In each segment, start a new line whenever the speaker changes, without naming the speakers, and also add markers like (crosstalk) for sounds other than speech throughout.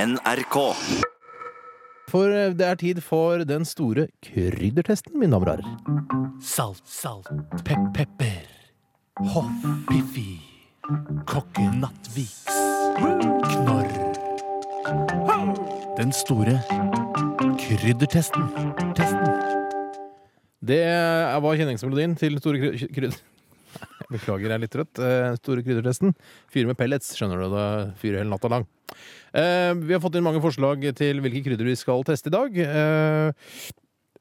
NRK.
For eh, det er tid for den store kryddertesten, mine damer og herrer.
Salt, salt, pep, pepper. Hoff, Piffi. Kokke Nattviks. Knorr. Den store kryddertesten. Testen.
Det var kjenningsmelodien til Store kry- (laughs) krydder... Beklager, jeg er litt trøtt. Eh, Store kryddertesten. Fyre med pellets, skjønner du. Da fyrer hele natta lang. Eh, Vi har fått inn mange forslag til hvilke krydder vi skal teste i dag. Eh,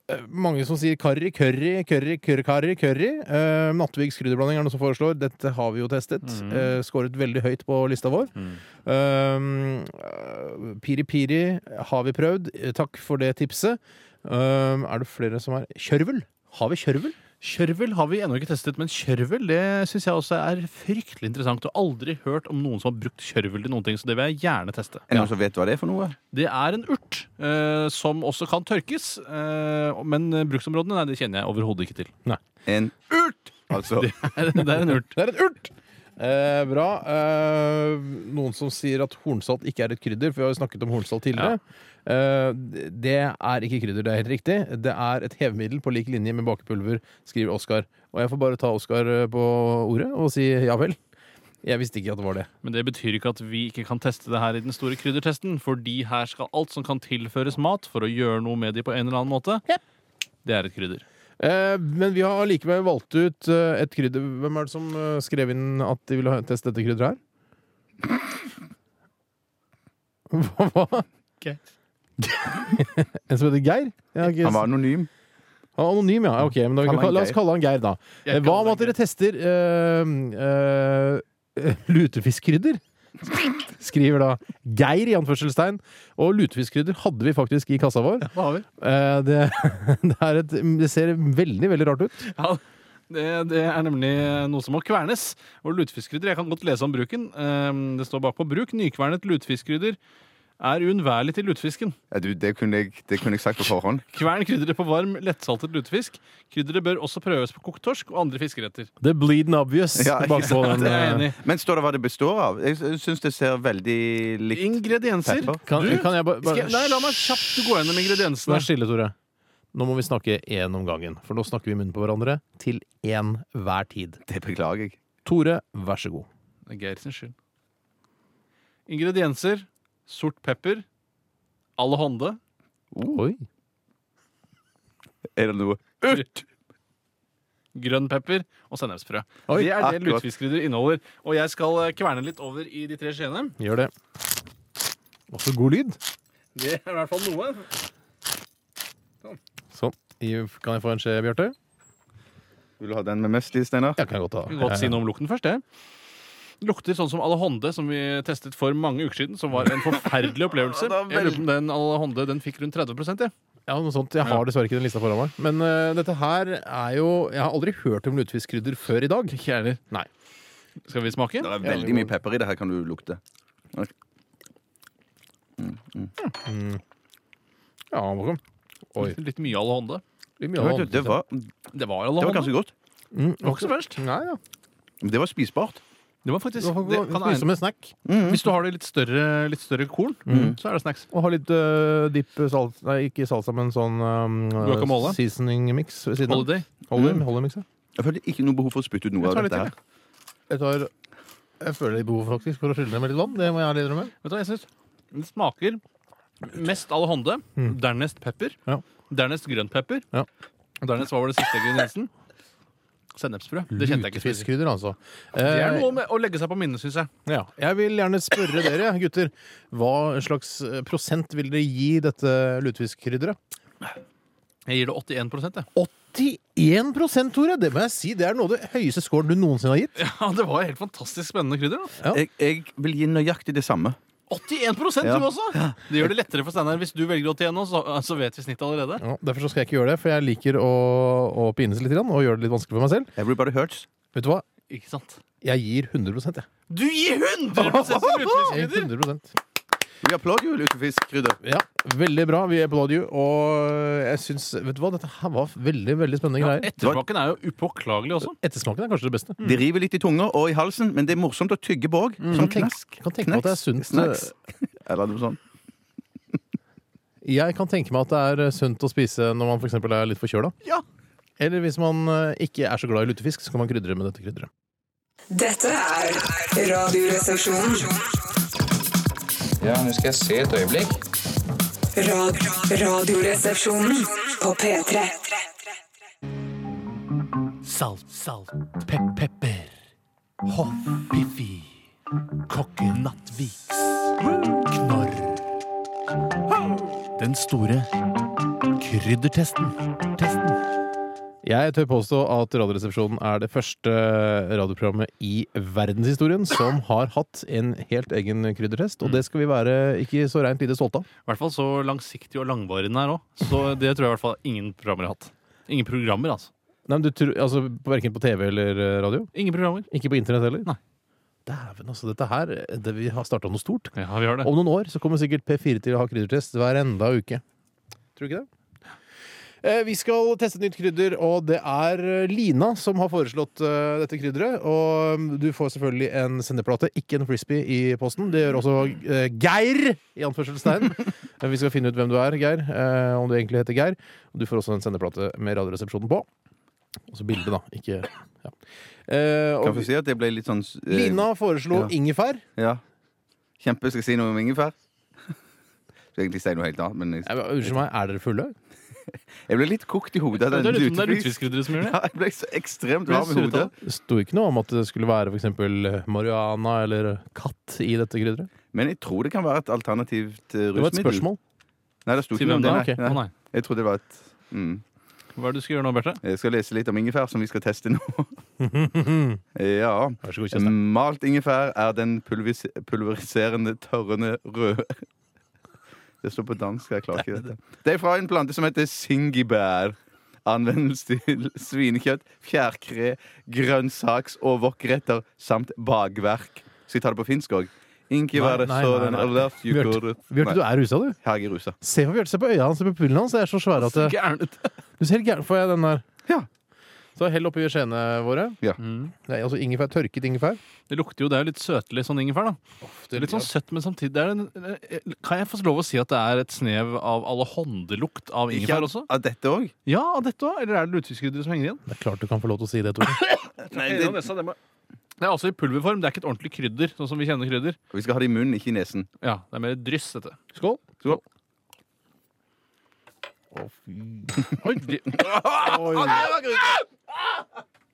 eh, Mange som sier karri, curry, curry, curry, curry. Eh, Nattvigs krydderblanding er noe som foreslår. Dette har vi jo testet. Eh, Skåret veldig høyt på lista vår. Um, øh, Piri Piri har vi prøvd. Eh, Takk for det tipset. Um, er det flere som er Kjørvel? Har vi kjørvel?
Kjørvel har vi ennå ikke testet, men kjørvel det syns jeg også er fryktelig interessant. Og aldri hørt om noen som har brukt kjørvel til noen ting, så det vil jeg gjerne teste.
Er det noen som vet hva det er for noe?
Det er en urt eh, som også kan tørkes, eh, men bruksområdene nei, det kjenner jeg overhodet ikke til.
En urt! Altså,
(laughs) det er en urt.
Det er et urt! Eh, bra. Eh, noen som sier at hornsalt ikke er et krydder, for vi har jo snakket om hornsalt tidligere. Eh, det er ikke krydder, det er helt riktig. Det er et hevemiddel på lik linje med bakepulver, skriver Oskar. Og jeg får bare ta Oskar eh, på ordet og si ja vel. Jeg visste ikke at det var det.
Men det betyr ikke at vi ikke kan teste det her i den store kryddertesten, fordi her skal alt som kan tilføres mat for å gjøre noe med de på en eller annen måte, det er et krydder.
Eh, Men vi har likevel valgt ut eh, et krydder. Hvem er det som eh, skrev inn at de ville ha- teste dette krydderet her? Hva? hva? (laughs) en som heter Geir? Ja, ikke-
han var anonym.
Han er Anonym, ja. Ok, men da, vi
Kall
kan,
han
la oss
Geir.
kalle han Geir, da. Eh, Hva om at dere tester eh, eh, (laughs) lutefiskkrydder? Skriver da Geir i anførselstegn. Og lutefiskkrydder hadde vi faktisk i kassa vår.
Hva har vi?
Eh, det, (laughs) det, er et, det ser veldig, veldig rart ut.
Ja, det, det er nemlig noe som må kvernes. Og lutefiskkrydder, jeg kan godt lese om bruken. Ehm, Det står bakpå bruk. Nykvernet lutefiskkrydder er uunnværlig til lutefisken.
Ja, du, det, kunne jeg, det kunne jeg sagt på forhånd.
Kvern krydderet på varm, lettsaltet lutefisk. Krydderet bør også prøves på kokt torsk og andre fiskeretter.
The bleeding obvious
Ja,
bakpå den.
Det er jeg enig i.
Men står det hva det består av? Jeg syns det ser veldig likt
Ingredienser.
Pepper.
eh, Kan,
Du,
kan jeg bare,
Skal
bare
jeg, nei, la meg kjapt gå gjennom ingrediensene.
Vær stille, Tore. Nå må vi snakke én om gangen, for nå snakker vi i munnen på hverandre til én hver tid.
Det beklager jeg.
Tore, vær så god.
Det er Geir sin skyld. Ingredienser. Sort pepper. Alle hånde.
Oi.
Er det noe
Urt. Grønn pepper og sennepsfrø.
Oi,
det er det
akkurat.
lutefiskkrydder inneholder. Og jeg skal eh, kverne litt over i de tre skjeene.
Gjør det. Også god lyd.
Det er i hvert fall noe.
Sånn. I- Kan jeg få en skje, Bjarte?
Vil du ha den med mest i, Steinar?
Ja, kan jeg godt ta.
Jeg kan godt si noe om lukten først. Det lukter sånn som Alehonde, som vi testet for mange uker siden. Som var en forferdelig opplevelse.
Ja, det
Jeg
var
lurer på om den Alehonde den fikk rundt 30 jeg.
Ja, noe sånt. Jeg har dessverre ikke den lista foran meg. Men eh, dette her er jo Jeg har aldri hørt om lutefiskkrydder før i dag.
Ikke jeg heller.
Nei.
Skal vi smake?
Det er veldig mye pepper i det her, kan du lukte.
Ja, Håkon. Oi.
Litt mye Alehonde.
Det
Det var, det var, det
Det var
var
Alehonde.
ganske godt.
mm,
Det var ikke så verst.
Nei, ja.
Det var spisbart.
Det var faktisk,
Det kan
det kan
spise
egne.
som en snack.
Hvis du har det litt større, litt større korn, så er det snacks.
Og ha litt uh, dipp salt... Nei, ikke salsa, men sånn øhm,
Guacamole?
seasoning mix ved siden av.
Holiday. Mm.
Holiday, holiday mix, ja.
Jeg føler ikke noe behov for å spytte ut noe
Jeg
av
tar litt til,
dette her.
jeg. Tar, jeg føler litt behov faktisk for å skylle ned med litt vann. Det må jeg ærlig innrømme.
Vet du hva jeg synes? Den smaker mest alhonde, dernest pepper,
Ja.
dernest grønn pepper,
Ja.
og dernest hva var det siste ingrediensen? Sennepsfrø. Det kjente jeg ikke. spiser.
Lutefiskkrydder, altså.
Det er
Eh,
noe med å legge seg på minnet, syns jeg.
ja. Jeg vil gjerne spørre dere, gutter, hva slags eh, prosent vil dere gi dette lutefiskkrydderet?
Jeg gir det 81 jeg.
81 Tore! Det må jeg si. Det er noe av det høyeste scoren du noensinne har gitt.
Ja, det var helt fantastisk spennende krydder. da.
Ja.
Jeg, jeg vil gi nøyaktig det samme.
81
Ja.
du også! Det gjør det lettere for Steinar. Hvis du velger 81 nå, så, så vet vi snittet allerede.
Ja, derfor så skal jeg ikke gjøre det, for jeg liker å, å pines litt grann, og gjøre det litt vanskelig for meg selv.
Everybody hurts.
Vet du hva?
Ikke sant?
Jeg gir 100 jeg.
Du gir 100 som
Jeg
utviskrydder!
gir 100
Vi applauderer jo lutefiskkrydder.
Ja, veldig bra. Vi applaud you. Og eh, jeg syns Vet du hva, dette her var veldig veldig spennende
Ja,
greier.
Ettersmaken er jo upåklagelig også.
Ettersmaken er kanskje det beste.
Mm. Det river litt i tunga og i halsen, men det er morsomt å tygge på òg. Som
Tenk-
knask.
kan tenke meg at det er sunt.
Knacks. Eller noe sånt.
eh, Jeg kan tenke meg at det er eh, sunt å spise når man f.eks. er litt forkjøla.
Ja.
Eller hvis man eh, ikke er så glad i lutefisk, så kan man krydre med dette krydderet.
Dette er Radioresepsjonen.
Ja, nå skal jeg se et øyeblikk.
Rad radioresepsjonen på P3.
Salt, salt, pep, pepper. Hoff, piffi. Kokke Nattviks. Knorr. Den store kryddertesten. Testen.
Jeg tør påstå at Radioresepsjonen er det første radioprogrammet i verdenshistorien som har hatt en helt egen kryddertest, og det skal vi være ikke så reint lite stolte av.
I hvert fall så langsiktig og langvarig den er òg. Så det tror jeg i hvert fall ingen programmer har hatt. Ingen programmer, altså.
Nei, men du tror, altså, Verken på TV eller eh, radio?
Ingen programmer.
Ikke på internett heller?
Nei.
Dæven, altså. Dette her det, Vi har starta noe stort.
Ja, vi har det.
Om noen år så kommer sikkert P4 til å ha kryddertest hver enda uke. Tror du ikke det? Eh, Vi skal teste nytt krydder, og det er eh, Lina som har foreslått eh, dette krydderet. Og mm, du får selvfølgelig en sendeplate, ikke en frisbee, i posten. Det gjør også eh, Geir! i anførselstegn. Eh, Vi skal finne ut hvem du er, Geir. eh, Om du egentlig heter Geir. Og du får også en sendeplate med Radioresepsjonen på. Og så bilde, da. Ikke ja. Eh, og,
Kan jeg få si at jeg ble litt sånn eh,
Lina foreslo
Ja.
ingefær.
Ja. Kjempe. Skal jeg si noe om ingefær? (laughs) Skal jeg egentlig si noe helt annet, men
Eh,
jeg,
Unnskyld meg, er dere fulle?
jeg ble litt kokt i hodet. av
Det
den
er litt sånn som det er
lutefisk.
lutefiskrydderet som gjør det.
(laughs) Ja, jeg ble så ekstremt
Ble
varm i
surret
hodet.
av
Det sto ikke noe om at det skulle være for eksempel marihuana eller katt i dette krydderet.
Men jeg tror det kan være et alternativt
Det
eh,
var et
rusmiddel.
spørsmål.
Nei, det sto
Til
ikke
hvem
noe om det.
da?
Nei.
Ok,
Nei.
Å, nei.
Jeg trodde det var et mm.
Hva er det du skal gjøre nå, Berte?
Jeg skal lese litt om ingefær, som vi skal
(laughs)
teste nå. (laughs) ja.
Vær så god, Kjøstheim.
Mm, Malt ingefær er den pulvis pulveriserende, tørrende røde (laughs) Det står på dansk, jeg klarer ikke dette. Det er fra en plante som heter singibær. Anvendelse til (laughs) svinekjøtt, fjærkre, grønnsaks- og wokretter samt bakverk. Skal jeg ta det på finsk òg? Inkivær
Nei, nei,
så
nei,
den
nei.
alert you
Bjarte-
could-
Bjørte, du
Nei,
er rusa, du.
her er jeg rusa.
Se på Bjarte, se på øya hans og pupillene hans. Det er så svære at det,
Gæren ut.
Du ser helt gæren får jeg den der.
Ja.
Så hell oppi skjeene våre.
Ja.
Nei, altså ingefær, tørket ingefær.
Det lukter jo, det er jo litt søtlig sånn ingefær, da. Det er litt sånn søtt, men samtidig det er en, eh, Kan jeg få lov å si at det er et snev av allehåndelukt av
Ikke
ingefær
av-
også?
Av dette òg?
Ja, av dette òg? Eller er det lutefiskrydderet som henger igjen?
Det er klart du kan få lov til å si det, Tore.
Det-
Det er altså i pulverform. Det er ikke et ordentlig krydder, sånn som vi kjenner krydder.
Vi skal ha det i munnen, ikke i nesen.
Ja, det er mer et dryss, dette.
Skål.
Skål.
(laughs) Oi, de... Ah,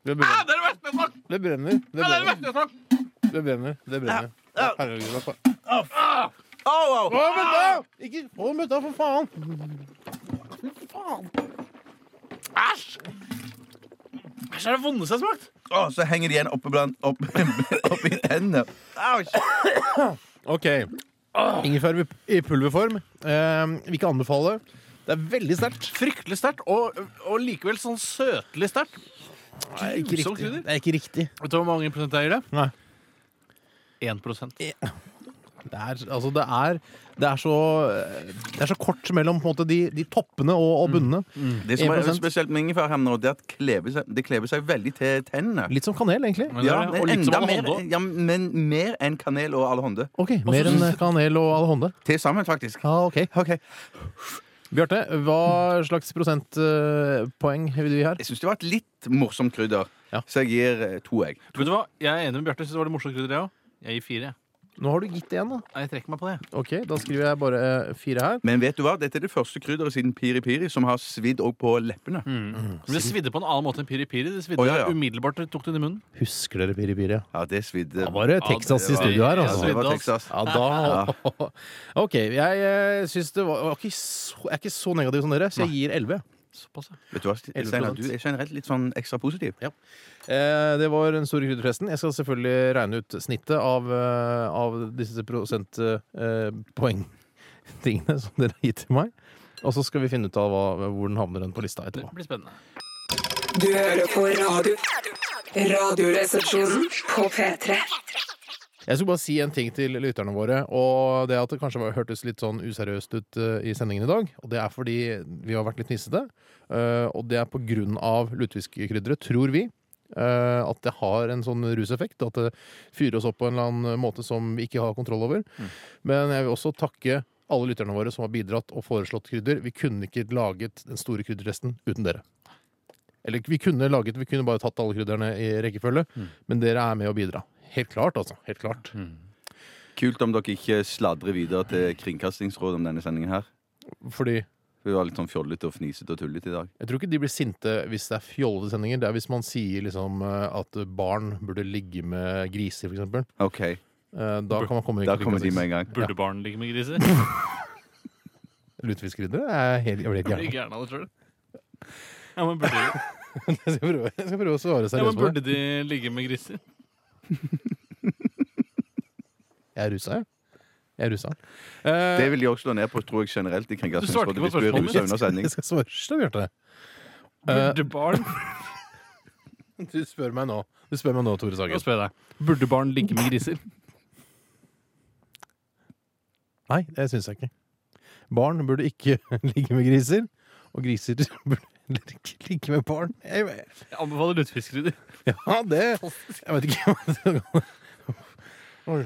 Det brenner. Det brenner. Det brenner. Det brenner. Det brenner. Herregud, hva faen. Å, men
Ah,
da! Ikke Å, men da, for faen!
Æsj, er det vondeste jeg har smakt!
Å, så henger de igjen oppe blant opp, opp (laughs) i hendene.
Ok. Ingefær i pulverform. Eh, vil ikke anbefale. Det er veldig sterkt.
Fryktelig sterkt, og, og likevel sånn søtlig sterkt.
Nei, ikke
Grusomt
riktig.
krydder.
Det er ikke riktig.
Vet du hvor mange prosent jeg gir det?
Nei.
1 prosent.
Det er, altså, det er, det er, så, det er så kort mellom på en måte, de, de toppene og, og bunnene.
Det som er
1%.
spesielt med ingefær her nå, det er at kleber seg, det kleber seg veldig til tennene.
Litt som kanel, egentlig.
Men det er det, og litt som
enda
alle hånda.
mer, ja, men mer enn kanel og allehånde.
Ok, Mer enn kanel og alhonde.
Til sammen, faktisk.
Altså, Ja, ok.
Ok.
Bjarte, hva slags prosentpoeng vil du gi her?
Jeg syns det var et litt morsomt krydder,
Ja.
så jeg gir eh, to egg.
Vet du hva? Jeg er enig med Bjarte. Syns det var det morsomt krydder, jeg òg. Jeg gir fire. jeg.
Nå har du gitt én, da.
Nei, Jeg trekker meg på det.
Ok, Da skriver jeg bare eh, fire her.
Men vet du hva? dette er det første krydderet siden piri piri som har svidd òg på leppene.
Men det svidde på en annen måte enn piri piri. Det svidde
Å, ja, ja.
umiddelbart da du tok det inn i munnen.
Husker dere Piri Piri?
Ja, det svidde.
Da var det Texas i
var-
studio her,
Ja,
altså.
det var
Svidde,
Texas.
Ja, da (laughs) OK. Jeg eh, syns det var, var ikke så, Jeg er ikke så negativ som dere, så jeg gir 11.
Såpass, ja.
Vet du hva, Steinar, du er generelt litt sånn ekstra positiv.
Eh, det var den store kryddertesten. Jeg skal selvfølgelig regne ut snittet av, eh, av disse prosentpoengtingene som dere har gitt til meg. Og så skal vi finne ut av hva, hvor den havner den på lista
Det
etterpå.
blir spennende.
Du hører på radio. Radioresepsjonen på P3.
Jeg skulle bare si en ting til lytterne våre, og det at det kanskje var, hørtes litt sånn useriøst ut eh, i sendingen i dag. Og det er fordi vi har vært litt nissete, eh, og det er på grunn av lutefiskekrydderet, tror vi. eh, at det har en sånn ruseffekt, at det fyrer oss opp på en eller annen måte som vi ikke har kontroll over. Men jeg vil også takke alle lytterne våre som har bidratt og foreslått krydder. Vi kunne ikke laget den store krydderresten uten dere. Eller vi kunne laget, vi kunne bare tatt alle krydderne i rekkefølge, men dere er med å bidra. Helt klart, altså. Helt klart.
Kult om dere ikke sladrer videre til Kringkastingsrådet om denne sendingen her.
Fordi
Vi var litt sånn fjollete og fnisete og tullete i dag.
jeg tror ikke de blir sinte hvis det er fjollete sendinger. Det er hvis man sier liksom eh, at barn burde ligge med griser, for eksempel.
OK,
Eh, Da kan man komme
da kommer de med en gang.
Burde barn ligge med griser?
Lutefiskkrydder er helt Jeg blir helt
Blir
gæren.
gæren av det sjøl. Ja, men burde,
(laughs) Jeg skal prøve- jeg skal prøve å svare
ja, men
seriøst på det.
burde de ligge med griser?
Jeg er rusa, jeg. Jeg er rusa. Eh,
Det vil de også slå ned på, tror jeg, generelt
Du
i
svarte ikke
Kringkastingsrådet
på
hvis du er
spørsmålet
rusa under sending.
(laughs) Jeg skal svare først, da, Bjarte. Eh,
Burde
(laughs)
barn
Du spør meg nå, du spør meg nå Tore
Nå
Sagen.
spør jeg deg. Burde barn ligge med (laughs) griser?
Nei, det syns jeg ikke. Barn burde ikke (laughs) ligge med griser. Og griser (laughs) burde heller ikke ligge med barn. Jeg, vet-
Jeg anbefaler lutefiskkrydder.
ja, det Jeg vet ikke hva Oi.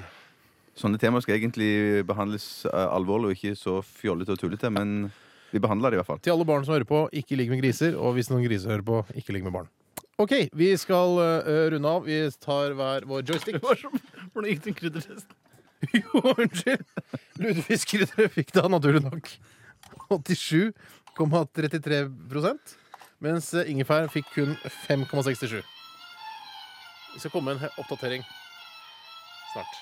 Sånne temaer skal egentlig behandles eh, alvorlig og ikke så fjollete og tullete, men vi behandler det i hvert fall.
Til alle barn som hører på, ikke ligg med griser. Og hvis noen griser hører på, ikke ligg med barn. OK, vi skal eh, runde av. Vi tar hver vår (laughs) joystick.
(laughs) Hva er som- Hvordan gikk den krydderresten?
Jo, unnskyld! Lutefiskkrydder fikk da naturlig nok 87,33 mens eh, ingefær fikk kun 5,67. Vi skal komme med en he- oppdatering snart.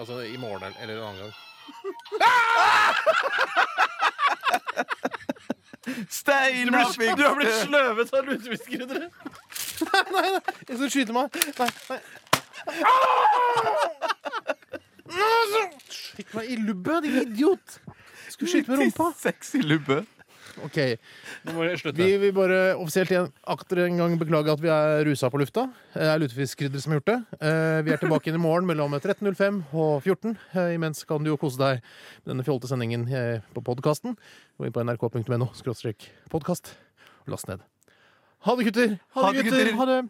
Altså i morgen eller- eller en annen gang.
Steinar
Du har blitt sløvet av lutefiskkrydder!
Jeg skal skyte meg! Nei, nei. Skyt meg i lubben, din idiot! Skulle skyte med rumpa.
Sexy lubbe.
Ok,
Nå må jeg slutte.
Vi vil bare offisielt igjen akter en gang beklage at vi er rusa på lufta. Det er lutefiskkrydder som har gjort det. Eh, Vi er tilbake igjen i morgen mellom 13.05 og 14. Eh, Imens kan du jo kose deg med denne fjolte sendingen eh, på podkasten. Gå inn på nrk.no podkast og last ned. Ha det, gutter!
Ha det, gutter!
Ha det.